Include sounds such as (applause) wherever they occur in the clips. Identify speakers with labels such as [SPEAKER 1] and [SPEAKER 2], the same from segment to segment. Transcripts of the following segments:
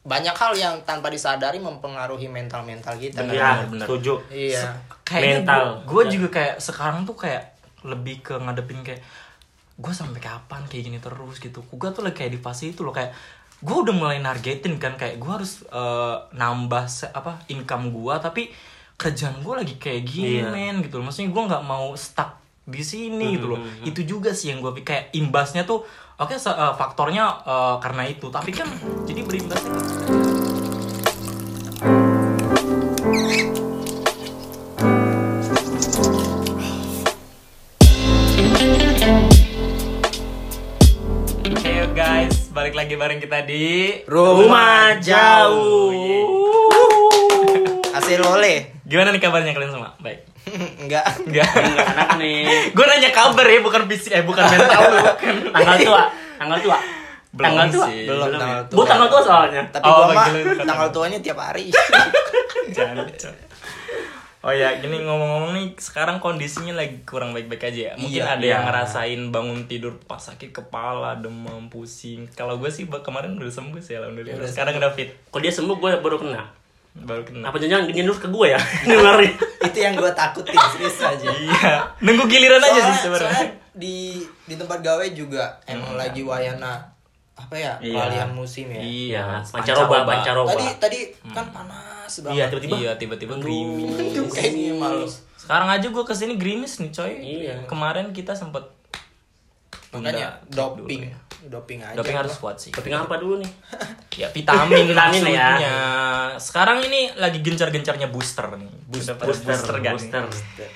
[SPEAKER 1] banyak hal yang tanpa disadari mempengaruhi mental-mental kita. kan?
[SPEAKER 2] Iya,
[SPEAKER 3] benar.
[SPEAKER 2] setuju.
[SPEAKER 1] Iya.
[SPEAKER 3] Kayaknya
[SPEAKER 2] Mental.
[SPEAKER 3] Gue juga kayak sekarang tuh kayak lebih ke ngadepin kayak gue sampai kapan kayak gini terus gitu. Gue tuh lagi kayak di fase itu loh kayak gue udah mulai nargetin kan kayak gue harus eh, nambah se- apa income gue tapi kerjaan gue lagi kayak gini
[SPEAKER 2] Iya.
[SPEAKER 3] men gitu. Maksudnya gue nggak mau stuck di sini gitu loh.
[SPEAKER 2] Mm-hmm.
[SPEAKER 3] Itu juga sih yang gue kayak imbasnya tuh oke se- eh, faktornya eh, karena itu tapi kan jadi berimbasnya ke- Hey guys, balik lagi bareng kita di Iya.
[SPEAKER 1] Rumah Jauh. Hasil oleh.
[SPEAKER 3] Gimana nih kabarnya kalian semua? Baik.
[SPEAKER 1] (laughs) Enggak.
[SPEAKER 3] Enggak. (laughs)
[SPEAKER 2] Enggak enak nih.
[SPEAKER 3] Gue nanya kabar ya, bukan fisik, eh bukan mental. bukan.
[SPEAKER 2] Tanggal tua, tanggal tua.
[SPEAKER 3] Belum
[SPEAKER 2] tanggal tua.
[SPEAKER 3] sih.
[SPEAKER 1] Belum
[SPEAKER 2] ya?
[SPEAKER 1] tanggal tua.
[SPEAKER 2] Gua tanggal tua soalnya.
[SPEAKER 1] Tapi
[SPEAKER 3] Oh,
[SPEAKER 1] gua mah
[SPEAKER 3] panggilin kata-
[SPEAKER 1] tanggal tuanya tiap hari.
[SPEAKER 3] (laughs)
[SPEAKER 1] (laughs)
[SPEAKER 3] Jangan, Cok. Oh ya, gini ngomong-ngomong nih, sekarang kondisinya lagi kurang baik-baik aja ya. Mungkin
[SPEAKER 1] Iya,
[SPEAKER 3] ada
[SPEAKER 2] iya.
[SPEAKER 3] yang ngerasain bangun tidur pas sakit kepala, demam, pusing. Kalau gue sih ba- kemarin udah sembuh sih, alhamdulillah. Sekarang udah fit,
[SPEAKER 2] Kalau dia sembuh gue baru kena.
[SPEAKER 3] baru kena.
[SPEAKER 2] Apa jangan gini dulu ke gue ya? (laughs) Nularin.
[SPEAKER 1] Itu yang gue takutin serius
[SPEAKER 3] (laughs)
[SPEAKER 1] aja.
[SPEAKER 3] Iya, nunggu giliran aja
[SPEAKER 1] Soalnya,
[SPEAKER 3] sih sebenarnya. Hmm.
[SPEAKER 1] soalnya di di tempat gawe juga emang lagi wayana apa ya
[SPEAKER 2] Iya.
[SPEAKER 1] peralihan musim ya.
[SPEAKER 2] Iya,
[SPEAKER 3] pancaroba.
[SPEAKER 2] pancaroba, pancaroba.
[SPEAKER 1] Tadi tadi kan panas banget.
[SPEAKER 2] Iya, tiba-tiba.
[SPEAKER 3] Hmm. Iya, tiba-tiba grimis.
[SPEAKER 1] (laughs) Aduh, kayaknya malu.
[SPEAKER 3] Sekarang aja gue kesini grimis nih coy.
[SPEAKER 2] Iya.
[SPEAKER 3] Kemarin kita sempet
[SPEAKER 1] Makanya
[SPEAKER 3] Tunda
[SPEAKER 1] doping.
[SPEAKER 3] dulu ya.
[SPEAKER 1] Doping aja.
[SPEAKER 3] Doping
[SPEAKER 1] gua.
[SPEAKER 3] harus kuat sih.
[SPEAKER 2] Tapi apa dulu nih?
[SPEAKER 3] Ya
[SPEAKER 2] Vitamin
[SPEAKER 3] vitamin,
[SPEAKER 2] ya.
[SPEAKER 3] maksudnya. Sekarang ini lagi gencar-gencarnya booster nih. Booster, booster, booster, kan?
[SPEAKER 2] booster.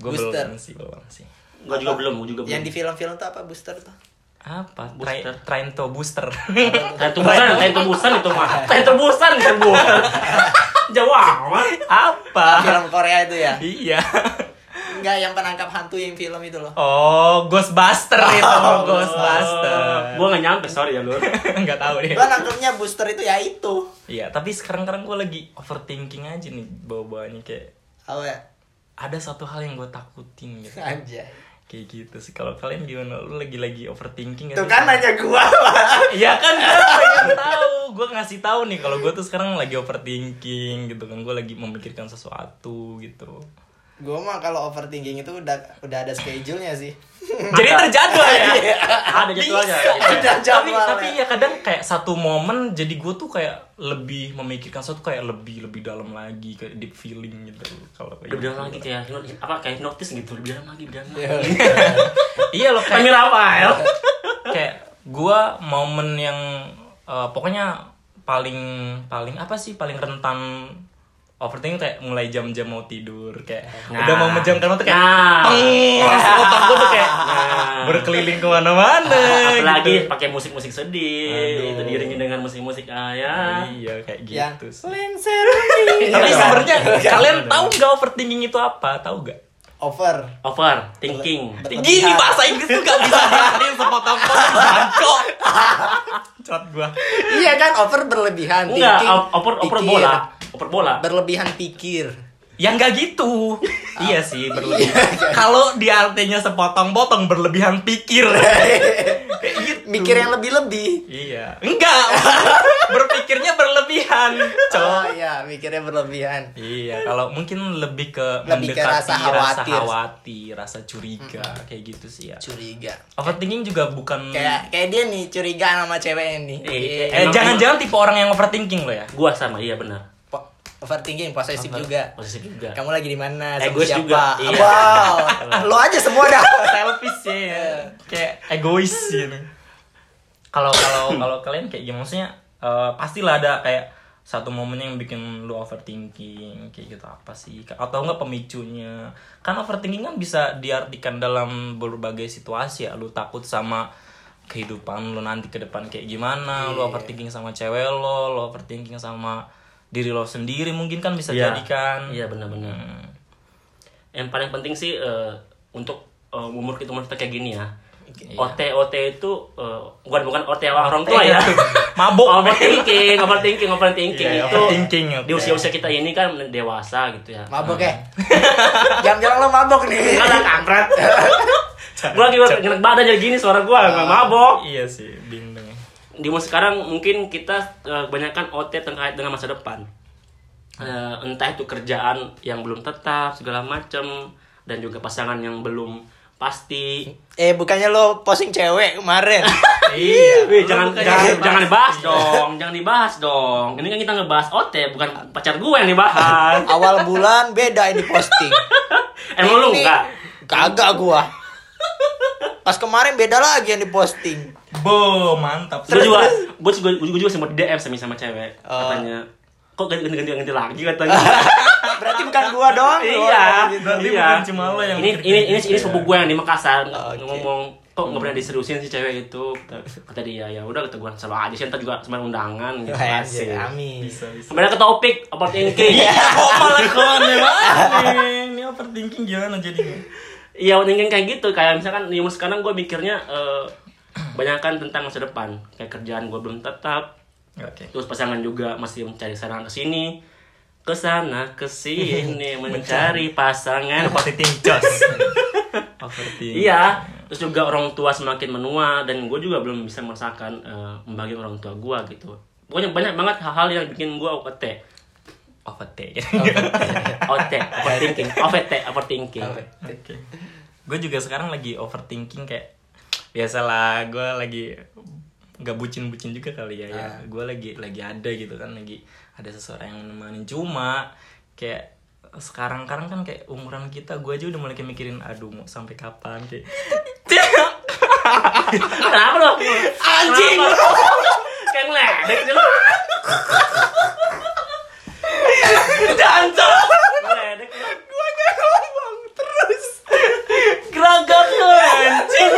[SPEAKER 3] Gue
[SPEAKER 1] Booster.
[SPEAKER 3] belum sih, belum sih.
[SPEAKER 2] Gue juga belum, gue juga
[SPEAKER 1] Yang
[SPEAKER 2] belum.
[SPEAKER 1] di film-film tuh apa booster
[SPEAKER 3] (laughs)
[SPEAKER 1] tuh?
[SPEAKER 3] Apa? Try,
[SPEAKER 2] Booster.
[SPEAKER 3] trying to booster.
[SPEAKER 2] Tren
[SPEAKER 1] (laughs)
[SPEAKER 2] tebusan, tren tebusan itu mah. Tren tebusan itu gua. (laughs) Jauh amat.
[SPEAKER 3] Apa?
[SPEAKER 1] Film Korea itu ya?
[SPEAKER 3] iya.
[SPEAKER 1] Enggak, yang penangkap hantu yang film itu loh.
[SPEAKER 3] Oh, Ghostbuster itu, Ghostbuster.
[SPEAKER 1] Eh.
[SPEAKER 3] (laughs)
[SPEAKER 2] Gue gak nyampe, sorry ya lu.
[SPEAKER 3] Enggak tahu deh.
[SPEAKER 1] Gua nangkepnya booster itu ya itu.
[SPEAKER 3] Iya, tapi sekarang-sekarang gue lagi overthinking aja nih bawa-bawanya kayak
[SPEAKER 1] Apa ya?
[SPEAKER 3] ada satu hal yang gue takutin gitu.
[SPEAKER 1] Aja.
[SPEAKER 3] Kayak gitu sih. Kalau kalian gimana? Lu lagi-lagi overthinking gak
[SPEAKER 1] Tuh
[SPEAKER 3] sih?
[SPEAKER 1] kan nanya gua. Pak.
[SPEAKER 3] (laughs) Iya kan gue pengen tahu. Gue ngasih tahu nih kalau gue tuh sekarang lagi overthinking gitu kan. Gue lagi memikirkan sesuatu gitu.
[SPEAKER 1] gua mah kalau overthinking itu udah udah ada schedule-nya sih.
[SPEAKER 3] Jadi
[SPEAKER 1] (laughs)
[SPEAKER 3] terjadwal ya.
[SPEAKER 2] Ada
[SPEAKER 1] Iya.
[SPEAKER 2] jadwalnya. Iya.
[SPEAKER 1] Ada
[SPEAKER 3] tapi
[SPEAKER 1] jadwalnya.
[SPEAKER 3] tapi ya kadang kayak satu momen jadi gue tuh kayak lebih memikirkan sesuatu kayak lebih lebih dalam lagi kayak deep feeling gitu kalau
[SPEAKER 2] Udah
[SPEAKER 3] kayak
[SPEAKER 2] bilang
[SPEAKER 3] gitu.
[SPEAKER 2] lagi kayak hipno- apa kayak hipnotis gitu, udah bilang lagi, bilang lagi.
[SPEAKER 3] iya loh kayak
[SPEAKER 2] Kami Rafael.
[SPEAKER 3] kayak gua momen yang eh, pokoknya paling paling apa sih paling rentan overthinking kayak mulai jam-jam mau tidur kayak
[SPEAKER 2] Nah.
[SPEAKER 3] udah mau menjamkan mata kayak
[SPEAKER 2] Nah.
[SPEAKER 3] peng
[SPEAKER 2] (laughs)
[SPEAKER 3] langsung otak gua tuh kayak
[SPEAKER 2] Nah.
[SPEAKER 3] berkeliling kemana-mana
[SPEAKER 2] Apalagi
[SPEAKER 3] gitu.
[SPEAKER 2] pakai musik-musik sedih,
[SPEAKER 1] Aduh.
[SPEAKER 2] itu diiringi dengan musik-musik ah, ya.
[SPEAKER 3] iya kayak
[SPEAKER 1] yang
[SPEAKER 3] gitu sih.
[SPEAKER 1] (laughs) lengser
[SPEAKER 2] Iya.
[SPEAKER 3] tapi sebenarnya kalian tahu nggak overthinking itu apa tahu nggak
[SPEAKER 1] over.
[SPEAKER 2] Over thinking.
[SPEAKER 1] Berlebihan.
[SPEAKER 3] Gini bahasa Inggris tuh gak bisa diartiin
[SPEAKER 2] (laughs)
[SPEAKER 3] sepotong-potong bangkok. Cot gua.
[SPEAKER 1] Iya kan over berlebihan
[SPEAKER 2] Enggak,
[SPEAKER 1] thinking, Iya.
[SPEAKER 2] op- over over
[SPEAKER 1] pikir.
[SPEAKER 2] bola. Over bola.
[SPEAKER 1] Berlebihan (laughs) pikir.
[SPEAKER 3] Ya nggak gitu.
[SPEAKER 1] (laughs)
[SPEAKER 3] iya
[SPEAKER 1] iya.
[SPEAKER 3] sih berlebihan. Kalau diartinya sepotong-potong berlebihan
[SPEAKER 1] (laughs)
[SPEAKER 3] pikir. Kayak gitu.
[SPEAKER 1] Mikir yang lebih-lebih.
[SPEAKER 3] Iya. Enggak. (laughs) Berpikirnya berlebihan,
[SPEAKER 1] Oh
[SPEAKER 3] Cot.
[SPEAKER 1] iya, mikirnya berlebihan.
[SPEAKER 3] Iya, kalau mungkin lebih ke
[SPEAKER 1] Lebih ke
[SPEAKER 3] mendekati
[SPEAKER 1] rasa
[SPEAKER 3] rasa
[SPEAKER 1] khawatir.
[SPEAKER 3] khawatir, rasa curiga, kayak gitu sih ya.
[SPEAKER 1] Curiga.
[SPEAKER 3] Overthinking juga bukan
[SPEAKER 1] Kayak kayak dia nih curiga sama ceweknya nih.
[SPEAKER 2] Eh,
[SPEAKER 1] Iya.
[SPEAKER 3] Eh,
[SPEAKER 2] Emang-
[SPEAKER 3] jangan-jangan tipe orang yang overthinking lo ya?
[SPEAKER 2] Gua sama, iya benar.
[SPEAKER 1] Po- overthinking posesif juga
[SPEAKER 2] Posisi juga.
[SPEAKER 1] kamu lagi di mana sama
[SPEAKER 2] Egois
[SPEAKER 1] siapa
[SPEAKER 2] juga, iya.
[SPEAKER 1] wow
[SPEAKER 2] (laughs)
[SPEAKER 1] lo aja semua dah
[SPEAKER 3] Selfish ya,
[SPEAKER 2] Iya.
[SPEAKER 3] kayak egois gitu. Kalau kalau kalau kalian kayak gimana maksudnya? eh, pastilah ada kayak satu momen yang bikin lu overthinking kayak gitu apa sih atau enggak pemicunya kan overthinking kan bisa diartikan dalam berbagai situasi ya lu takut sama kehidupan lu nanti ke depan kayak gimana
[SPEAKER 2] Iya.
[SPEAKER 3] lu overthinking sama cewek lo lu overthinking sama diri lo sendiri mungkin kan bisa
[SPEAKER 2] Iya.
[SPEAKER 3] jadikan Hmm.
[SPEAKER 2] Iya benar-benar. Yang paling penting sih eh, untuk eh, umur kita umur kita kayak gini ya.
[SPEAKER 1] Iya.
[SPEAKER 2] OT OT itu eh, bukan bukan OT orang orang tua
[SPEAKER 1] Iya.
[SPEAKER 2] ya. (laughs)
[SPEAKER 3] Mabok.
[SPEAKER 2] overthinking, overthinking, overthinking
[SPEAKER 3] Iya,
[SPEAKER 2] itu
[SPEAKER 3] overthinking, oke.
[SPEAKER 2] di usia-usia kita ini kan dewasa gitu ya.
[SPEAKER 1] mabok
[SPEAKER 2] (laughs)
[SPEAKER 1] ya jam-jam lo mabok nih
[SPEAKER 2] Enggak lah (laughs) kampret. Ah. gua lagi ngenek badan jadi gini suara gua, enggak mabok.
[SPEAKER 3] iya sih bingung ya.
[SPEAKER 2] di umur sekarang mungkin kita eh, kebanyakan OT terkait dengan masa depan. Eh, entah itu kerjaan yang belum tetap segala macam dan juga pasangan yang belum pasti.
[SPEAKER 1] Eh bukannya lo posting cewek
[SPEAKER 2] (laughs)
[SPEAKER 1] kemarin?
[SPEAKER 3] iya
[SPEAKER 2] Wih,
[SPEAKER 3] lu
[SPEAKER 2] jangan
[SPEAKER 3] bukannya
[SPEAKER 2] jangan,
[SPEAKER 3] bebas.
[SPEAKER 2] jangan dibahas dong, jangan dibahas dong. Ini kan kita ngebahas OT bukan pacar gue yang dibahas.
[SPEAKER 1] Awal bulan beda ini posting.
[SPEAKER 2] (laughs) Emang lu
[SPEAKER 1] Ini-
[SPEAKER 2] enggak?
[SPEAKER 1] Kagak gua. Pas kemarin beda lagi yang diposting.
[SPEAKER 3] bo mantap
[SPEAKER 2] Gue juga, gue juga, gue juga sempat DM sama sama cewek
[SPEAKER 1] Oh.
[SPEAKER 2] katanya. Kok ganti ganti ganti, ganti lagi katanya. (laughs)
[SPEAKER 1] Berarti bukan gua doang. lu
[SPEAKER 2] iya,
[SPEAKER 1] orang gitu.
[SPEAKER 3] Berarti
[SPEAKER 2] iya.
[SPEAKER 3] bukan cuma lo yang Ah,
[SPEAKER 2] ini
[SPEAKER 3] mikir
[SPEAKER 2] ini
[SPEAKER 3] kayak
[SPEAKER 2] ini
[SPEAKER 3] gitu
[SPEAKER 2] ini
[SPEAKER 3] ya.
[SPEAKER 2] sepupu gue yang di Mekassar
[SPEAKER 1] Oke.
[SPEAKER 2] ngomong kok nggak
[SPEAKER 3] Hmm.
[SPEAKER 2] pernah diseriusin si cewek itu kata, kata dia ya udah kata gue selalu aja sih ntar juga cuma undangan gitu
[SPEAKER 1] Wah,
[SPEAKER 2] asik.
[SPEAKER 1] anjir, amin.
[SPEAKER 3] bisa bisa
[SPEAKER 2] Kembali ke topik about thinking.
[SPEAKER 3] Iya, kok malah keluar nih
[SPEAKER 2] (laughs)
[SPEAKER 3] Bang? ini overthinking gimana jadinya
[SPEAKER 2] Iya, overthinking kayak gitu. Kayak misalkan di umur sekarang gue mikirnya eh, banyakkan tentang masa depan. Kayak kerjaan gue belum tetap,
[SPEAKER 3] oke
[SPEAKER 2] terus pasangan juga masih mencari sarana ke sini ke sana ke
[SPEAKER 1] (laughs)
[SPEAKER 2] sini mencari pasangan
[SPEAKER 3] overthinking jos overthinking
[SPEAKER 2] iya terus juga orang tua semakin menua dan gue juga belum bisa merasakan eh, membagi orang tua gue gitu pokoknya banyak banget hal-hal yang bikin gue OT
[SPEAKER 3] overthinking
[SPEAKER 2] OT overthinking OVT overthinking
[SPEAKER 1] Apa?
[SPEAKER 3] Oke. Gue juga sekarang lagi overthinking kayak biasalah gue lagi nggak bucin-bucin juga kali ya. ya. Gue lagi lagi ada gitu kan lagi ada seseorang yang menemani cuma kayak sekarang sekarang kan kayak umuran kita gue aja udah mulai kayak mikirin aduh mau sampai kapan kayak
[SPEAKER 2] kenapa lo
[SPEAKER 1] Anjing!
[SPEAKER 2] Kenapa lo? kayak ngeledek sih lo
[SPEAKER 3] jancok
[SPEAKER 2] ngeledek lo.
[SPEAKER 3] gue ngomong terus geragamnya anjing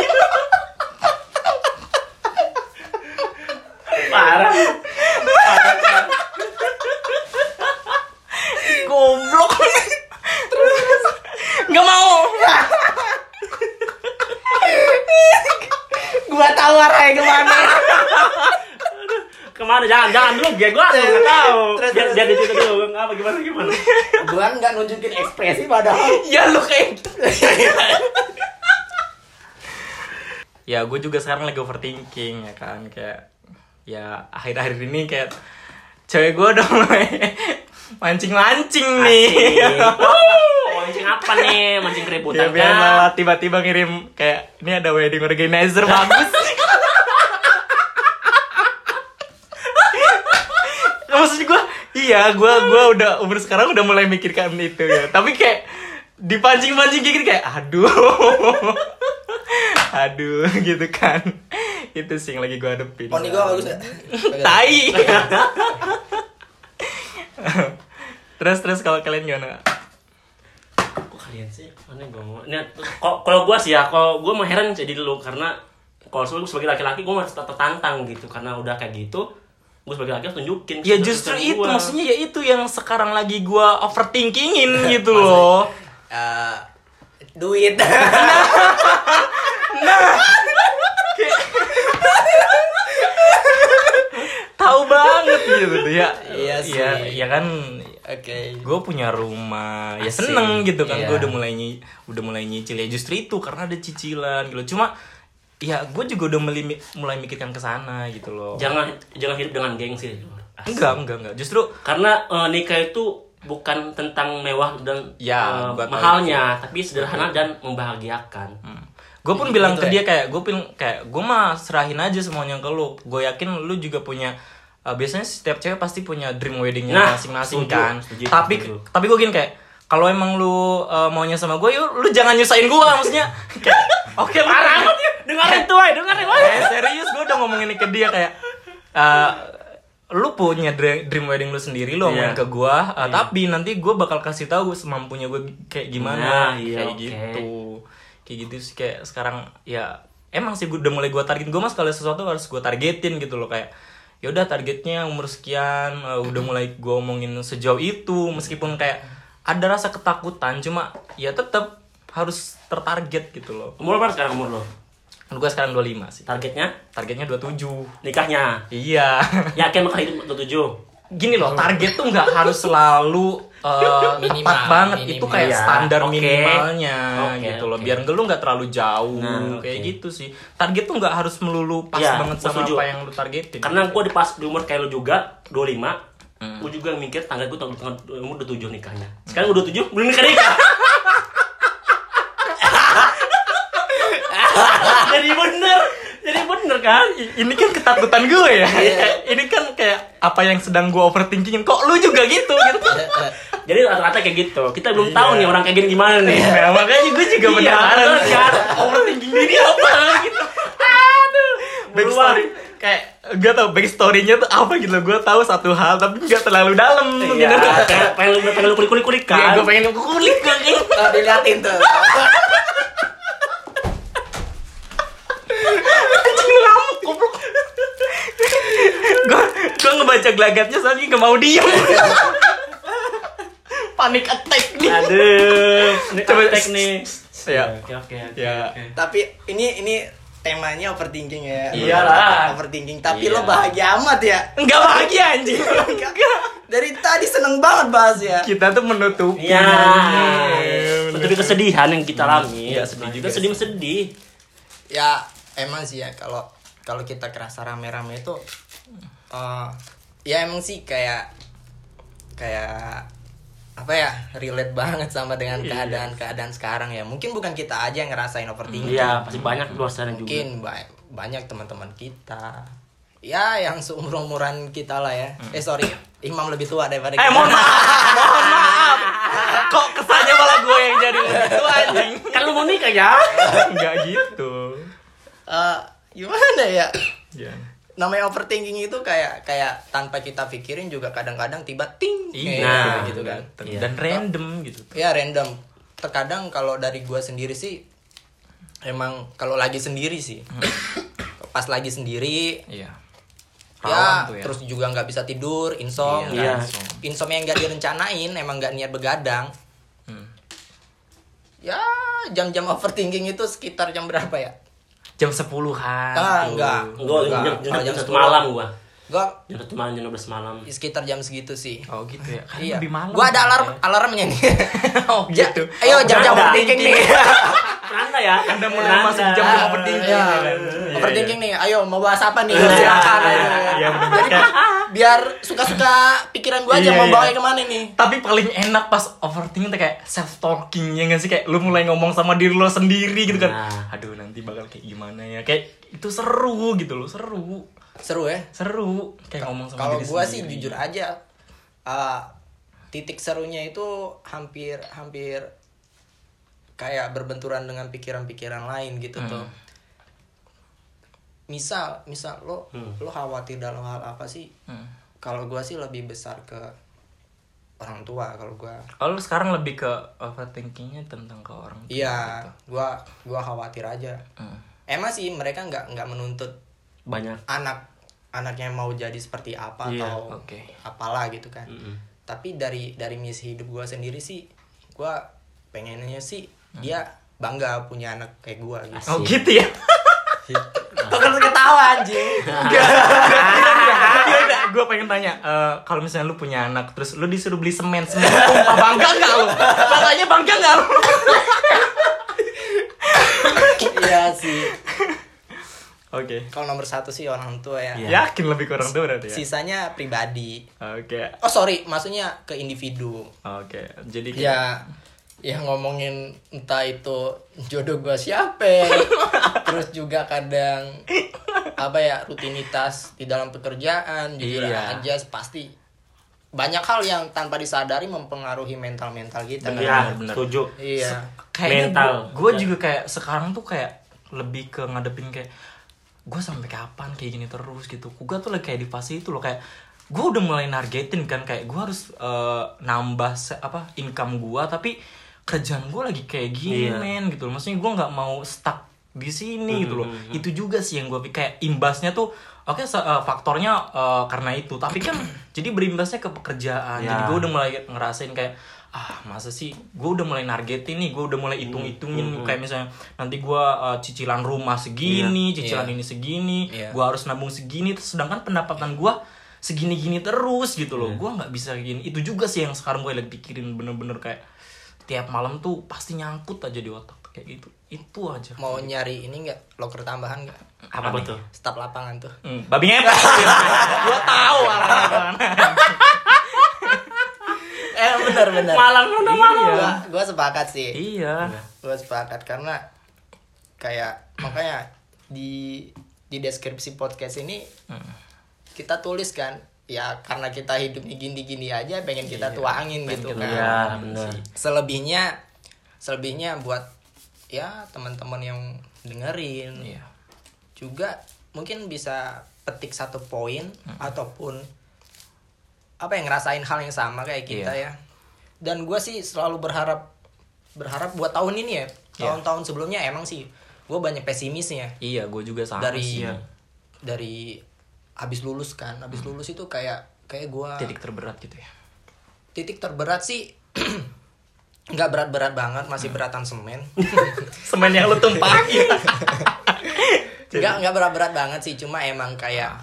[SPEAKER 2] parah
[SPEAKER 3] goblok terus nggak mau
[SPEAKER 1] Gua tahu arahnya kemana.
[SPEAKER 2] kemana jangan jangan dulu gue gue nggak tahu
[SPEAKER 1] Terus,
[SPEAKER 2] biar
[SPEAKER 1] terus.
[SPEAKER 2] biar di situ dulu apa gimana gimana
[SPEAKER 3] (laughs)
[SPEAKER 1] gua nggak nunjukin ekspresi padahal.
[SPEAKER 3] ya lu kayak ya gue juga sekarang lagi overthinking ya kan kayak ya akhir-akhir ini kayak cewek gue udah mulai (laughs) mancing-mancing nih
[SPEAKER 2] Wuh, mancing apa nih mancing
[SPEAKER 3] ya
[SPEAKER 2] keributan
[SPEAKER 3] biar
[SPEAKER 2] kan
[SPEAKER 3] malah tiba-tiba ngirim kayak ini ada wedding organizer bagus (laughs) maksud gue iya gue gua udah umur sekarang udah mulai mikirkan itu ya tapi kayak dipancing-pancing gigit kayak aduh (laughs) aduh gitu kan itu sih yang lagi gue hadepin
[SPEAKER 1] Poni gua bagus ya. nggak?
[SPEAKER 3] tai (laughs) terus terus kalau kalian gimana
[SPEAKER 2] kok kalian sih aneh gue mau Ini, kok- kalau gue sih ya kalau gue mau heran jadi lu karena kalau sebagai sebagai laki-laki gue masih tertantang gitu karena udah kayak gitu gue sebagai laki harus tunjukin
[SPEAKER 3] Ya justru itu
[SPEAKER 2] gua.
[SPEAKER 3] maksudnya ya itu yang sekarang lagi gua
[SPEAKER 1] (laughs)
[SPEAKER 3] overthinkingin gitu loh.
[SPEAKER 1] Eh, duit. (laughs)
[SPEAKER 3] Tahu banget gitu tuh ya.
[SPEAKER 1] Iya sih.
[SPEAKER 3] Ya, ya kan
[SPEAKER 1] Oke.
[SPEAKER 3] gue punya rumah ya seneng gitu kan
[SPEAKER 1] Iya.
[SPEAKER 3] gue udah mulai nyi- udah mulai nyicil ya justru itu karena ada cicilan gitu cuma ya gue juga udah melimi- mulai mikirkan ke sana gitu loh
[SPEAKER 1] Iya.
[SPEAKER 2] jangan jangan hidup dengan gengsi
[SPEAKER 3] enggak enggak enggak justru
[SPEAKER 2] karena eh, nikah itu bukan tentang mewah dan eh,
[SPEAKER 3] Ya, gua tahu
[SPEAKER 2] mahalnya tapi sederhana dan membahagiakan
[SPEAKER 3] gue Hmm. pun bilang
[SPEAKER 2] gitu ya?
[SPEAKER 3] ke dia kayak gue pun kayak gue mah serahin aja semuanya ke lu gue yakin lu juga punya eh, biasanya setiap cewek pasti punya dream weddingnya
[SPEAKER 2] Nah,
[SPEAKER 3] masing-masing
[SPEAKER 2] setuju,
[SPEAKER 3] kan
[SPEAKER 2] setuju,
[SPEAKER 3] tapi
[SPEAKER 2] setuju.
[SPEAKER 3] tapi gue gini kayak kalau emang lu eh, maunya sama gue yuk lu jangan nyusahin gue
[SPEAKER 2] (laughs)
[SPEAKER 3] maksudnya Kayak, oke lu-
[SPEAKER 2] Parah amat ya. Dengerin tuh, woy. dengerin woy.
[SPEAKER 3] eh serius gue udah ngomongin ini ke dia kayak eh, lu punya dre- dream wedding lu sendiri lu ngomongin
[SPEAKER 2] Iya.
[SPEAKER 3] ke gue eh, tapi nanti gue bakal kasih tahu semampunya gue kayak
[SPEAKER 2] Nah,
[SPEAKER 3] gimana
[SPEAKER 2] iya,
[SPEAKER 3] kayak
[SPEAKER 2] oke.
[SPEAKER 3] gitu kayak gitu sih kayak sekarang ya emang sih gue udah mulai gue target gue mas kalau sesuatu harus gue targetin gitu loh kayak ya udah targetnya umur sekian eh, udah mulai gue omongin sejauh itu meskipun kayak ada rasa ketakutan cuma ya tetap harus tertarget gitu loh
[SPEAKER 2] Umur berapa sekarang umur lo?
[SPEAKER 3] gue sekarang 25 sih
[SPEAKER 2] Targetnya?
[SPEAKER 3] targetnya 27
[SPEAKER 2] Nikahnya?
[SPEAKER 3] Iya. (laughs)
[SPEAKER 2] Yakin bakal hidup 27?
[SPEAKER 3] gini loh target tuh nggak harus selalu uh,
[SPEAKER 4] Minimal,
[SPEAKER 3] tepat banget itu
[SPEAKER 4] minimal.
[SPEAKER 3] kayak
[SPEAKER 2] Iya,
[SPEAKER 3] standar
[SPEAKER 2] oke.
[SPEAKER 3] minimalnya
[SPEAKER 2] Oke,
[SPEAKER 3] gitu loh
[SPEAKER 2] oke.
[SPEAKER 3] biar lu nggak terlalu jauh
[SPEAKER 2] Nah,
[SPEAKER 3] kayak
[SPEAKER 2] oke.
[SPEAKER 3] gitu sih target tuh nggak harus melulu pas
[SPEAKER 2] Iya,
[SPEAKER 3] banget
[SPEAKER 2] gua
[SPEAKER 3] sama
[SPEAKER 2] setuju.
[SPEAKER 3] apa yang lu targetin
[SPEAKER 2] karena gue di pas di umur kayak lo juga 25
[SPEAKER 3] Hmm.
[SPEAKER 2] gue juga mikir tanggal gue tanggal tanggal umur 27 nikahnya sekarang gue 27 belum nikah nikah (laughs) jadi bener jadi bener kan
[SPEAKER 3] I- ini kan ketakutan gue ya ini kan kayak apa yang sedang gue overthinkingin kok lu juga gitu gitu
[SPEAKER 2] jadi rata-rata kayak gitu kita belum
[SPEAKER 3] Iya.
[SPEAKER 2] tahu nih orang kayak gini gimana nih
[SPEAKER 3] Nah, makanya gue juga
[SPEAKER 2] Iya,
[SPEAKER 3] penasaran
[SPEAKER 2] bener kan?
[SPEAKER 3] overthinking ini apa gitu aduh backstory kayak gue tau backstorynya tuh apa gitu gue tahu satu hal tapi nggak terlalu dalam Gitu.
[SPEAKER 2] Iya, pengen, pengen, lu- pengen lu kulik-kulik
[SPEAKER 3] Iya,
[SPEAKER 2] kan
[SPEAKER 3] gue pengen kulik gue kayak-
[SPEAKER 1] Tuh, diliatin tuh
[SPEAKER 3] anjing lu ngamuk goblok gue gue ngebaca gelagatnya soalnya gak mau diem panik attack nih
[SPEAKER 2] aduh ini
[SPEAKER 3] Coba-
[SPEAKER 2] praktek nih
[SPEAKER 3] ya
[SPEAKER 2] oke oke oke,
[SPEAKER 3] Ya.
[SPEAKER 2] oke.
[SPEAKER 1] tapi ini ini temanya overthinking ya
[SPEAKER 2] Iyalah.
[SPEAKER 1] overthinking tapi
[SPEAKER 2] Iya.
[SPEAKER 1] lo bahagia amat ya
[SPEAKER 3] nggak bahagia anjing
[SPEAKER 1] dari tadi seneng banget bahas ya
[SPEAKER 3] kita tuh menutupi
[SPEAKER 2] Iya.
[SPEAKER 3] Bener.
[SPEAKER 2] Menutupi kesedihan yang kita alami. Nah,
[SPEAKER 3] Iya, sedih juga
[SPEAKER 2] Kita sedih sedih.
[SPEAKER 1] ya emang sih ya kalau kalau kita kerasa rame-rame itu eh, ya emang sih kayak kayak apa ya relate banget sama
[SPEAKER 2] Iya.
[SPEAKER 1] dengan keadaan-keadaan sekarang ya mungkin bukan kita aja yang ngerasain overthinking
[SPEAKER 2] Iya, pasti banyak di luar sana juga.
[SPEAKER 1] mungkin ba- banyak teman-teman kita ya yang seumur umuran kita lah ya eh sorry imam lebih tua daripada
[SPEAKER 3] eh
[SPEAKER 1] kita
[SPEAKER 3] mohon maaf
[SPEAKER 1] (laughs)
[SPEAKER 3] mohon maaf kok kesannya malah gue yang jadi itu anjing
[SPEAKER 2] Kan lu mau nikah ya?
[SPEAKER 3] nggak gitu
[SPEAKER 1] Eh, gimana ya
[SPEAKER 3] ya
[SPEAKER 1] namanya overthinking itu kayak kayak tanpa kita pikirin juga kadang-kadang tiba ting kayak
[SPEAKER 3] Iya.
[SPEAKER 2] Nah.
[SPEAKER 1] gitu kan
[SPEAKER 2] Iya.
[SPEAKER 3] dan random gitu
[SPEAKER 1] ya random terkadang kalau dari gua sendiri sih emang kalau lagi sendiri sih
[SPEAKER 3] Mm.
[SPEAKER 1] pas lagi sendiri
[SPEAKER 3] iya
[SPEAKER 1] ya,
[SPEAKER 3] Rawan tuh ya.
[SPEAKER 1] terus juga nggak bisa tidur insomnia
[SPEAKER 2] Iya.
[SPEAKER 1] insomnia yang nggak direncanain emang nggak niat begadang
[SPEAKER 3] Hmm.
[SPEAKER 1] ya jam-jam overthinking itu sekitar jam berapa ya
[SPEAKER 3] jam sepuluhan
[SPEAKER 1] ah
[SPEAKER 3] tuh.
[SPEAKER 1] enggak
[SPEAKER 2] Gua
[SPEAKER 1] Enggak.
[SPEAKER 2] jam, jam,
[SPEAKER 1] Kalau
[SPEAKER 2] jam satu
[SPEAKER 1] 10,
[SPEAKER 2] malam gua.
[SPEAKER 1] gua ya
[SPEAKER 2] Jam satu malam, jam 12 malam.
[SPEAKER 1] sekitar jam segitu sih
[SPEAKER 3] oh gitu ya kan
[SPEAKER 1] iya
[SPEAKER 3] lebih malam
[SPEAKER 1] gua ada alarm (laughs)
[SPEAKER 3] ya.
[SPEAKER 1] alarmnya
[SPEAKER 3] (laughs)
[SPEAKER 1] nih
[SPEAKER 3] oh
[SPEAKER 1] Ya,
[SPEAKER 3] gitu
[SPEAKER 1] ayo
[SPEAKER 2] Oh,
[SPEAKER 1] jam-jam
[SPEAKER 2] beranda.
[SPEAKER 1] overthinking
[SPEAKER 3] (laughs)
[SPEAKER 1] nih
[SPEAKER 2] Penanda ya?
[SPEAKER 3] anda mau
[SPEAKER 2] Penanda.
[SPEAKER 3] masuk jam
[SPEAKER 1] (laughs) Ah,
[SPEAKER 3] overthinking
[SPEAKER 1] iya.
[SPEAKER 3] ya kan? Iya,
[SPEAKER 1] Overthinking nih, ayo mau bahas apa nih?
[SPEAKER 3] (laughs) iya.
[SPEAKER 1] Silakan. ayo.
[SPEAKER 3] Iya, bener kan.
[SPEAKER 1] Biar suka-suka pikiran gua aja
[SPEAKER 3] Iya,
[SPEAKER 1] mau
[SPEAKER 3] iya.
[SPEAKER 1] bawa kemana nih?
[SPEAKER 3] tapi paling enak pas overthinking tuh kayak self talking ya nggak sih kayak lu mulai ngomong sama diri lo sendiri gitu kan
[SPEAKER 2] Nah.
[SPEAKER 3] aduh nanti bakal kayak gimana ya kayak itu seru gitu loh seru
[SPEAKER 1] Seru ya?
[SPEAKER 3] seru kayak ngomong sama
[SPEAKER 1] Kalau
[SPEAKER 3] diri
[SPEAKER 1] gua sih
[SPEAKER 3] sendiri.
[SPEAKER 1] jujur aja eh, titik serunya itu hampir hampir kayak berbenturan dengan pikiran-pikiran lain gitu
[SPEAKER 3] Hmm.
[SPEAKER 1] tuh. Misal, misal lo lo khawatir dalam hal apa sih?
[SPEAKER 3] Hmm.
[SPEAKER 1] Kalau gua sih lebih besar ke orang tua kalau gua.
[SPEAKER 3] kalau lu sekarang lebih ke overthinkingnya tentang ke orang tua
[SPEAKER 1] Iya,
[SPEAKER 3] gitu.
[SPEAKER 1] gua gua khawatir aja.
[SPEAKER 3] Hmm.
[SPEAKER 1] Emang sih mereka nggak nggak menuntut
[SPEAKER 2] Banyak.
[SPEAKER 1] anak anaknya mau jadi seperti apa
[SPEAKER 2] Iya,
[SPEAKER 1] atau
[SPEAKER 3] oke.
[SPEAKER 1] apalah gitu kan.
[SPEAKER 2] Mm-mm.
[SPEAKER 1] Tapi dari dari misi hidup gua sendiri sih, gua pengennya sih dia
[SPEAKER 3] Hmm.
[SPEAKER 1] bangga punya anak kayak gua (laughs) gitu.
[SPEAKER 3] oh gitu ya
[SPEAKER 1] Kok lu ketawa anjing?
[SPEAKER 3] (laughs) Iya, gue pengen tanya, eh, kalau misalnya lu punya anak, terus lu disuruh beli semen, semen tumpah, (laughs) bangga nggak lu? Bapaknya bangga nggak lu?
[SPEAKER 1] (laughs) Iya sih.
[SPEAKER 3] (laughs) Oke,
[SPEAKER 1] Kalau nomor satu sih orang tua ya.
[SPEAKER 3] Iya. yakin lebih kurang tuh berarti ya?
[SPEAKER 1] Sisanya pribadi.
[SPEAKER 3] Oke,
[SPEAKER 1] Oh sorry, maksudnya ke individu.
[SPEAKER 3] oke. Jadi kayak-
[SPEAKER 1] ya ya ngomongin entah itu jodoh gua siapa (laughs) terus juga kadang apa ya rutinitas di dalam pekerjaan jujur
[SPEAKER 3] Iya.
[SPEAKER 1] aja pasti banyak hal yang tanpa disadari mempengaruhi mental mental kita kan?
[SPEAKER 2] Iya,
[SPEAKER 3] bener.
[SPEAKER 2] setuju.
[SPEAKER 1] iya
[SPEAKER 2] Mental.
[SPEAKER 3] Gue juga kayak sekarang tuh kayak lebih ke ngadepin kayak gue sampai kapan kayak gini terus gitu. Gue tuh lagi kayak di fase itu loh kayak gue udah mulai nargetin kan kayak gue harus eh, nambah se- apa income gue tapi kerjaan gue lagi kayak gini
[SPEAKER 2] Iya.
[SPEAKER 3] men gitu loh. Maksudnya gue nggak mau stuck di sini gitu
[SPEAKER 1] Hmm,
[SPEAKER 3] loh.
[SPEAKER 2] Mhm.
[SPEAKER 3] Itu juga sih yang gue pikir kayak imbasnya tuh oke se- eh, faktornya eh, karena itu tapi kan (clears throat) jadi berimbasnya ke pekerjaan. Jadi
[SPEAKER 2] Ya.
[SPEAKER 3] gue udah mulai ngerasain kayak ah masa sih gue udah mulai nargetin nih gue udah mulai
[SPEAKER 1] Hmm,
[SPEAKER 3] hitung hitungin kayak misalnya nanti gue uh, cicilan rumah segini cicilan
[SPEAKER 1] Iya.
[SPEAKER 3] ini segini
[SPEAKER 1] Iya.
[SPEAKER 3] gue harus nabung segini sedangkan pendapatan gue segini-gini terus gitu loh gua nggak bisa kayak gini itu juga sih yang sekarang gue lagi pikirin bener-bener kayak tiap malam tuh pasti nyangkut aja di otak kayak gitu itu aja
[SPEAKER 1] mau nyari ini nggak loker tambahan nggak
[SPEAKER 2] Apa,
[SPEAKER 3] nih?
[SPEAKER 2] tuh?
[SPEAKER 1] staf lapangan tuh
[SPEAKER 3] Hmm, babi ngepet
[SPEAKER 1] (laughs)
[SPEAKER 3] gue tahu arahnya kemana
[SPEAKER 1] eh benar benar Iya.
[SPEAKER 2] Malang lu udah malang.
[SPEAKER 1] gua, gua sepakat sih
[SPEAKER 3] iya
[SPEAKER 1] gua sepakat karena kayak makanya di di deskripsi podcast ini kita tulis kan ya karena kita hidupnya gini-gini aja pengen kita tuangin gitu kan
[SPEAKER 2] Iya, benar.
[SPEAKER 1] selebihnya selebihnya buat ya teman-teman yang dengerin
[SPEAKER 3] iya
[SPEAKER 1] juga mungkin bisa petik satu poin ataupun apa yang ngerasain hal yang sama kayak kita ya dan gue sih selalu berharap berharap buat tahun ini ya tahun-tahun sebelumnya emang sih gue banyak pesimisnya ya.
[SPEAKER 3] iya gue juga sama
[SPEAKER 1] dari
[SPEAKER 3] sih
[SPEAKER 1] dari habis lulus kan habis lulus itu kayak kayak gue
[SPEAKER 3] titik terberat gitu ya
[SPEAKER 1] titik terberat sih (clears throat) nggak berat-berat banget masih beratan semen
[SPEAKER 3] semen yang lu tumpahin
[SPEAKER 1] nggak nggak berat-berat banget sih cuma emang kayak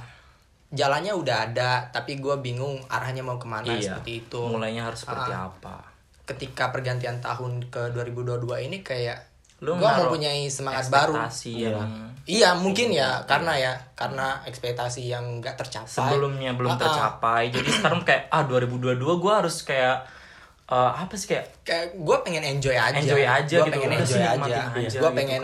[SPEAKER 1] jalannya udah ada tapi gue bingung arahnya mau kemana
[SPEAKER 3] iya
[SPEAKER 1] Nah, seperti itu Ah.
[SPEAKER 3] mulainya harus seperti apa
[SPEAKER 1] ketika pergantian tahun ke 2022 ini kayak
[SPEAKER 3] Lu
[SPEAKER 1] gue
[SPEAKER 3] naruh
[SPEAKER 1] mempunyai semangat baru
[SPEAKER 3] ekspektasi yang
[SPEAKER 1] iya mungkin ya karena ya karena ekspektasi yang nggak tercapai
[SPEAKER 3] sebelumnya belum
[SPEAKER 1] Ah, ah.
[SPEAKER 3] tercapai jadi sekarang kayak ah 2022 gue harus kayak eh, apa sih kayak
[SPEAKER 1] kayak gue pengen enjoy aja
[SPEAKER 3] Enjoy aja
[SPEAKER 1] Gua
[SPEAKER 3] gitu,
[SPEAKER 1] pengen
[SPEAKER 3] udah sih,
[SPEAKER 1] enjoy aja,
[SPEAKER 3] nikmatin aja
[SPEAKER 1] gue
[SPEAKER 3] gitu.
[SPEAKER 1] pengen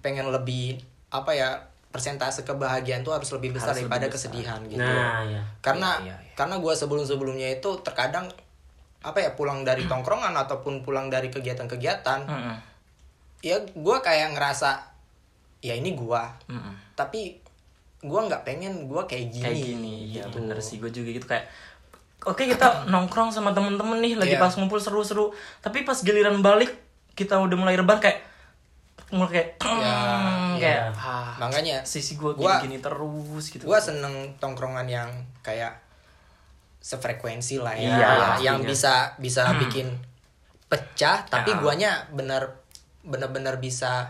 [SPEAKER 1] pengen lebih apa ya persentase kebahagiaan tuh harus lebih besar
[SPEAKER 3] Harus lebih
[SPEAKER 1] daripada
[SPEAKER 3] besar.
[SPEAKER 1] kesedihan gitu
[SPEAKER 2] Nah, ya.
[SPEAKER 1] karena
[SPEAKER 3] Iya, iya, iya.
[SPEAKER 1] karena gue sebelum sebelumnya itu terkadang apa ya pulang dari tongkrongan ataupun pulang dari kegiatan-kegiatan
[SPEAKER 3] mm-mm,
[SPEAKER 1] ya gue kayak ngerasa ya ini gue
[SPEAKER 3] mm-mm.
[SPEAKER 1] tapi gue nggak pengen gue kayak gini
[SPEAKER 3] kayak gini ya
[SPEAKER 1] gitu.
[SPEAKER 3] bener sih gue juga gitu kayak oke kita nongkrong sama temen-temen nih
[SPEAKER 1] Iya.
[SPEAKER 3] lagi pas ngumpul seru-seru tapi pas giliran balik kita udah mulai rebahan kayak mulai kayak (clears throat)
[SPEAKER 1] Ya, iya.
[SPEAKER 3] kayak ah,
[SPEAKER 1] makanya
[SPEAKER 3] sisi gue
[SPEAKER 1] Gua-
[SPEAKER 3] gini, gini terus gitu
[SPEAKER 1] gue seneng tongkrongan yang kayak sefrekuensi lah ya,
[SPEAKER 3] Iya,
[SPEAKER 1] yang
[SPEAKER 3] pastinya.
[SPEAKER 1] bisa bisa bikin pecah tapi
[SPEAKER 3] Ya.
[SPEAKER 1] guanya bener bener-bener bisa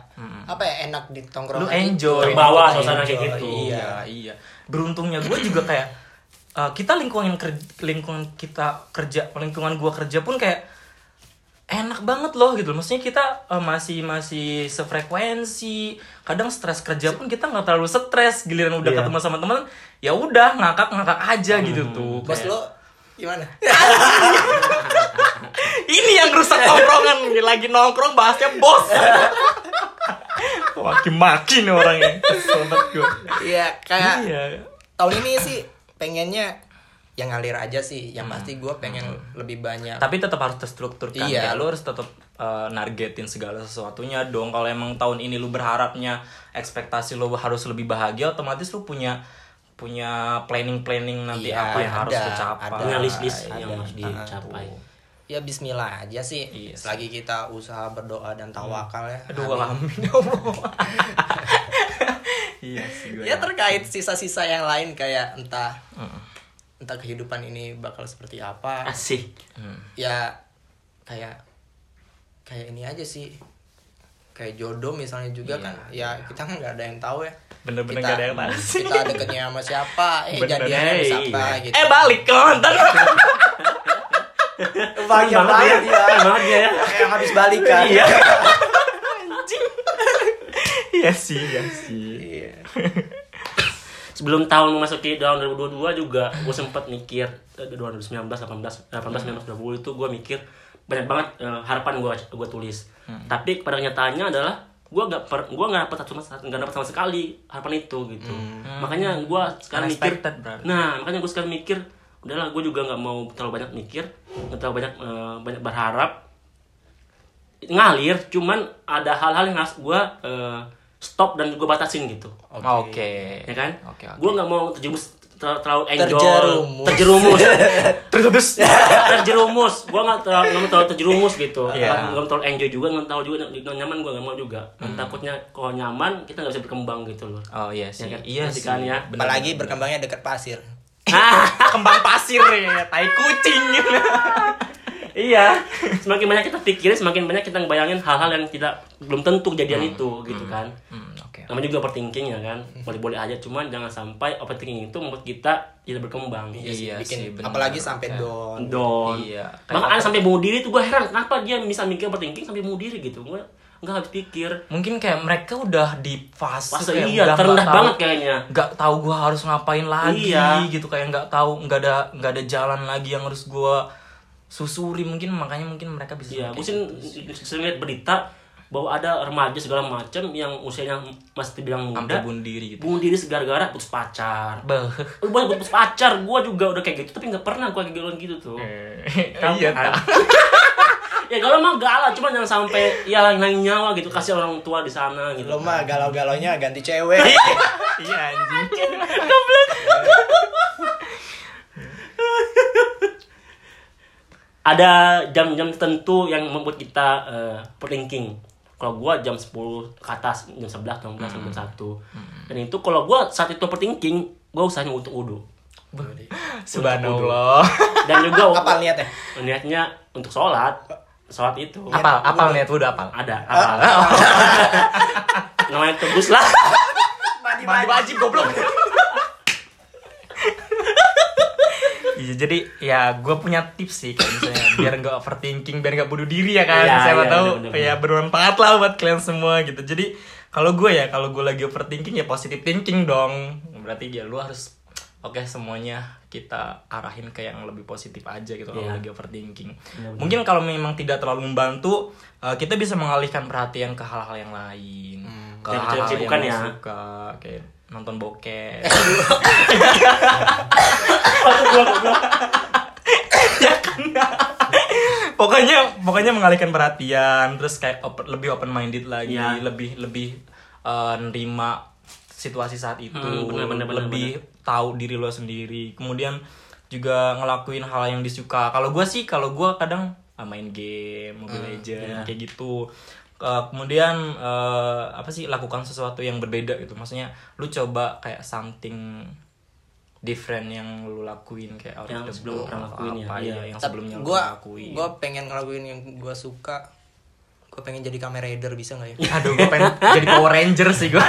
[SPEAKER 1] apa ya enak di tongkrongan
[SPEAKER 3] lu enjoy
[SPEAKER 2] Terbawa
[SPEAKER 1] Lu
[SPEAKER 2] suasana kayak
[SPEAKER 1] enjoy,
[SPEAKER 2] gitu.
[SPEAKER 1] iya
[SPEAKER 3] iya iya beruntungnya gue juga kayak eh, kita lingkungan ker- lingkungan kita kerja lingkungan gue kerja pun kayak enak banget loh gitu maksudnya kita eh, masih masih sefrekuensi kadang stres kerja pun kita nggak terlalu stres giliran udah
[SPEAKER 2] Iya.
[SPEAKER 3] ketemu sama teman ya udah ngakak ngakak aja gitu tuh
[SPEAKER 1] bos
[SPEAKER 3] Kayak,
[SPEAKER 1] lo gimana
[SPEAKER 3] ini yang rusak tongkrongan Ini lagi nongkrong bahasnya bos maki-maki nih orangnya kesel banget gue
[SPEAKER 1] (laughs) iya kayak
[SPEAKER 3] iya
[SPEAKER 1] tahun ini sih pengennya yang ngalir aja sih yang pasti gue pengen lebih banyak
[SPEAKER 3] tapi tetap harus terstruktur kan
[SPEAKER 1] Iya.
[SPEAKER 3] ya lu harus tetap uh, nargetin segala sesuatunya dong kalau emang tahun ini lu berharapnya ekspektasi lu harus lebih bahagia otomatis lu punya punya planning planning nanti
[SPEAKER 1] Iya,
[SPEAKER 3] apa yang harus
[SPEAKER 1] ada,
[SPEAKER 3] lu capai
[SPEAKER 1] ada.
[SPEAKER 2] Punya
[SPEAKER 1] Ada.
[SPEAKER 2] list-list
[SPEAKER 1] gitu.
[SPEAKER 2] yang harus dicapai.
[SPEAKER 1] ya Bismillah aja sih
[SPEAKER 3] Iya sih.
[SPEAKER 1] selagi kita usaha berdoa dan tawakal ya
[SPEAKER 3] aduh
[SPEAKER 1] Amin.
[SPEAKER 3] alhamdulillah ya Allah iya sih gue
[SPEAKER 1] (laughs) ya terkait sisa-sisa yang lain kayak entah entah kehidupan ini bakal seperti
[SPEAKER 2] (laughs)
[SPEAKER 1] apa
[SPEAKER 2] Asik.
[SPEAKER 1] ya kayak kayak ini aja sih kayak jodoh misalnya juga
[SPEAKER 3] Iya,
[SPEAKER 1] kan ya kita (laughs) kan nggak ada yang tahu ya
[SPEAKER 3] Bener-bener
[SPEAKER 1] Kita-
[SPEAKER 3] nggak ada yang tahu sih.
[SPEAKER 1] kita deketnya sama siapa eh
[SPEAKER 3] Bener,
[SPEAKER 1] jadiannya sama
[SPEAKER 2] hey.
[SPEAKER 1] siapa gitu
[SPEAKER 3] eh balik ke mantan
[SPEAKER 1] bahagia
[SPEAKER 2] Seneng banget
[SPEAKER 1] banget
[SPEAKER 2] dia.
[SPEAKER 1] ya
[SPEAKER 2] Seneng banget dia ya.
[SPEAKER 1] yang habis kan. balikan
[SPEAKER 3] iya anjing iya sih iya sih
[SPEAKER 1] Iya.
[SPEAKER 2] sebelum tahun memasuki tahun 2022 juga gue sempat mikir eh, 2019 18 18 19 20 itu gue mikir banyak banget eh, harapan gue gue tulis
[SPEAKER 3] Hmm.
[SPEAKER 2] tapi pada kenyataannya adalah gue nggak per gue nggak dapat sama nggak dapat sama sekali harapan itu gitu makanya gue sekarang mikir
[SPEAKER 3] Hmm. Unexpected, berarti.
[SPEAKER 2] nah makanya gue sekarang mikir udahlah gue juga nggak mau terlalu banyak mikir nggak terlalu banyak eh, banyak berharap ngalir cuman ada hal-hal yang harus gue eh, stop dan gue batasin gitu
[SPEAKER 3] oke
[SPEAKER 2] ya kan?
[SPEAKER 3] Oke, oke.
[SPEAKER 2] Gue nggak mau terjerumus ter- terlalu enjoy,
[SPEAKER 1] Terjerumus.
[SPEAKER 2] terjerumus,
[SPEAKER 3] terus terus
[SPEAKER 1] (laughs)
[SPEAKER 2] terjerumus. Gue nggak terlalu nggak mau terlalu terjerumus gitu.
[SPEAKER 3] Iya. Hmm.
[SPEAKER 2] Nggak nggak mau terlalu enjoy juga, nggak tahu juga nggak nyaman gue nggak mau juga. Dan takutnya kalau nyaman kita nggak bisa berkembang gitu loh.
[SPEAKER 3] oh iya sih
[SPEAKER 2] Ya kan?
[SPEAKER 3] iya
[SPEAKER 2] Nanti
[SPEAKER 3] sih
[SPEAKER 2] kan ya.
[SPEAKER 3] Bener.
[SPEAKER 1] apalagi berkembangnya dekat pasir
[SPEAKER 3] (laughs) kembang pasir ya, tai kucing.
[SPEAKER 2] iya, semakin banyak kita pikirin, semakin banyak kita ngebayangin hal-hal yang tidak belum tentu kejadian itu gitu kan.
[SPEAKER 3] Hmm, oke.
[SPEAKER 2] namanya juga overthinking ya kan boleh-boleh aja cuman jangan sampai overthinking itu membuat kita tidak berkembang ya
[SPEAKER 1] Iya sih,
[SPEAKER 3] Iya
[SPEAKER 1] bikin
[SPEAKER 3] sih, bener.
[SPEAKER 1] apalagi sampai
[SPEAKER 3] Kayak-
[SPEAKER 1] down.
[SPEAKER 2] down
[SPEAKER 3] Iya.
[SPEAKER 2] Maka ada sampai bunuh diri tuh gue heran kenapa dia bisa mikir overthinking sampai bunuh diri gitu gue nggak habis pikir
[SPEAKER 3] mungkin kayak mereka udah di fase
[SPEAKER 2] masa
[SPEAKER 3] kayak
[SPEAKER 2] iya
[SPEAKER 3] udah nggak
[SPEAKER 2] terendah
[SPEAKER 3] tahu-
[SPEAKER 2] banget kayaknya
[SPEAKER 3] nggak tahu gue harus ngapain lagi
[SPEAKER 2] Iya.
[SPEAKER 3] gitu kayak nggak tahu nggak ada nggak ada jalan lagi yang harus gue susuri mungkin makanya mungkin mereka bisa
[SPEAKER 2] Iya, gue
[SPEAKER 3] kayak gitu
[SPEAKER 2] sih sering lihat berita bahwa ada remaja segala macam yang usianya masih bilang
[SPEAKER 3] sampai
[SPEAKER 2] muda
[SPEAKER 3] bunuh diri gitu
[SPEAKER 2] bunuh diri segara-gara putus pacar.
[SPEAKER 3] Beuh.
[SPEAKER 2] Lu banyak putus pacar, gue juga udah kayak gitu tapi nggak pernah gue kayak galauan gitu tuh.
[SPEAKER 3] iya
[SPEAKER 2] kan?
[SPEAKER 3] tak.
[SPEAKER 2] ya galau mah galau, cuman jangan sampai ya nangis nyawa gitu kasih orang tua di sana gitu.
[SPEAKER 1] Lo mah galau-galaunya ganti (laughs) cewek.
[SPEAKER 3] iya anjing
[SPEAKER 2] Ada jam-jam tertentu yang membuat kita eh, overthinking. Kalau gua jam 10 ke atas, jam 11, jam 12, jam
[SPEAKER 3] Hmm.
[SPEAKER 2] 1. Dan itu kalau gua saat itu overthinking, gua usahanya untuk wudhu.
[SPEAKER 3] subhanallah
[SPEAKER 2] dan juga
[SPEAKER 1] (laughs)
[SPEAKER 2] waktu-
[SPEAKER 1] Apa niatnya?
[SPEAKER 2] niatnya untuk sholat sholat itu
[SPEAKER 3] apal apal niat lu udah apal
[SPEAKER 2] ada apa (laughs) namanya tebus lah (laughs)
[SPEAKER 3] mandi wajib goblok Iya, jadi ya gue punya tips sih kayak misalnya biar nggak overthinking, biar nggak bunuh diri ya kan.
[SPEAKER 2] Iya,
[SPEAKER 3] Siapa
[SPEAKER 2] iya,
[SPEAKER 3] tahu
[SPEAKER 2] bener-bener.
[SPEAKER 3] ya bermanfaat lah buat kalian semua gitu. Jadi kalau gue ya kalau gue lagi overthinking ya positive thinking dong. Berarti ya lu harus oke semuanya kita arahin ke yang lebih positif aja gitu kalau
[SPEAKER 2] Iya.
[SPEAKER 3] lagi overthinking.
[SPEAKER 2] Bener-bener.
[SPEAKER 3] Mungkin kalau memang tidak terlalu membantu eh, kita bisa mengalihkan perhatian ke hal-hal yang lain.
[SPEAKER 2] Yang
[SPEAKER 3] Ke hal-hal yang
[SPEAKER 2] kesibukan
[SPEAKER 3] lu
[SPEAKER 2] ya.
[SPEAKER 3] suka kayak nonton bokep. pokoknya pokoknya mengalihkan perhatian terus kayak open- lebih open minded lagi
[SPEAKER 2] Iya.
[SPEAKER 3] lebih lebih eh, nerima situasi saat itu
[SPEAKER 2] Hmm, bener, bener, bener,
[SPEAKER 3] lebih tahu diri lo sendiri kemudian juga ngelakuin hal yang disuka kalau gue sih kalau gue kadang ah, main game mobile
[SPEAKER 2] Hmm, iya.
[SPEAKER 3] legend kayak gitu Eh, kemudian eh, apa sih lakukan sesuatu yang berbeda gitu maksudnya lu coba kayak something different yang lu lakuin kayak out of
[SPEAKER 2] Yang
[SPEAKER 3] the
[SPEAKER 2] sebelum
[SPEAKER 3] box,
[SPEAKER 2] pernah lakuin ya.
[SPEAKER 3] apa,
[SPEAKER 2] Iya.
[SPEAKER 3] yang
[SPEAKER 1] Tapi
[SPEAKER 3] sebelumnya lu
[SPEAKER 1] gua,
[SPEAKER 3] lakuin
[SPEAKER 1] gua pengen ngelakuin yang gua suka. Gua pengen jadi Kamen Rider bisa nggak ya?
[SPEAKER 3] Aduh, gue pengen jadi Power Ranger sih gue.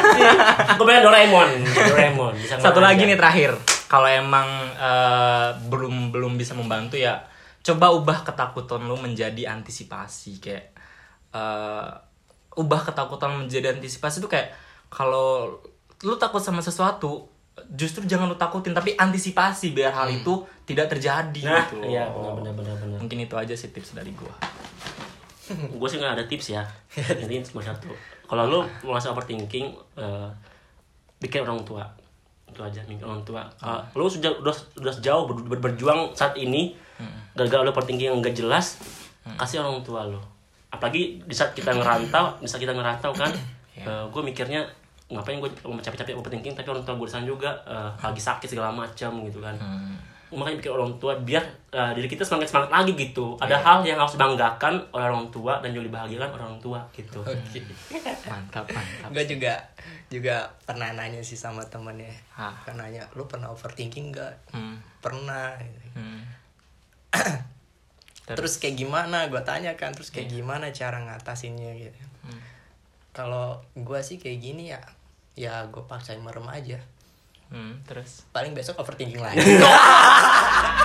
[SPEAKER 2] gue pengen Doraemon Doraemon bisa
[SPEAKER 3] Satu
[SPEAKER 2] ngelawan
[SPEAKER 3] lagi
[SPEAKER 2] aja.
[SPEAKER 3] nih terakhir, kalau emang eh, belum belum bisa membantu ya, coba ubah ketakutan lu menjadi antisipasi kayak eh, ubah ketakutan menjadi antisipasi itu kayak kalau lu takut sama sesuatu justru jangan lu takutin tapi antisipasi biar hal itu tidak terjadi
[SPEAKER 2] Hmm. nah
[SPEAKER 3] gitu.
[SPEAKER 2] iya benar benar benar benar
[SPEAKER 3] Mungkin itu aja sih tips dari gua.
[SPEAKER 2] gue sih nggak ada tips ya ini cuma satu kalau lu merasa overthinking eh, bikin orang tua itu aja bikin orang tua Kalau lu sudah udah udah jauh berjuang saat ini gara-gara lu overthinking yang nggak jelas kasih orang tua lu apalagi di saat kita ngerantau di saat kita ngerantau kan gue mikirnya ngapain gue capek-capek overthinking tapi orang tua gue di sana juga eh, lagi sakit segala macam gitu kan makanya bikin orang tua biar uh, diri kita semangat semangat lagi gitu ada hal yang harus dibanggakan oleh orang tua dan juga dibahagiakan oleh orang tua gitu
[SPEAKER 1] Oke.
[SPEAKER 3] Mantap, mantap.
[SPEAKER 1] Gue juga juga pernah nanya sih sama temennya.
[SPEAKER 3] Hah.
[SPEAKER 1] Kan nanya, lu pernah overthinking nggak?
[SPEAKER 3] Ah, Hmm,
[SPEAKER 1] Pernah.
[SPEAKER 3] hmm.
[SPEAKER 1] Terus kayak gimana? Gua tanya kan. Terus kayak gimana cara ngatasinnya gitu. Kalau gua sih kayak gini ya, ya gue paksain merem aja.
[SPEAKER 3] Hmm, terus
[SPEAKER 1] Paling besok overthinking lagi.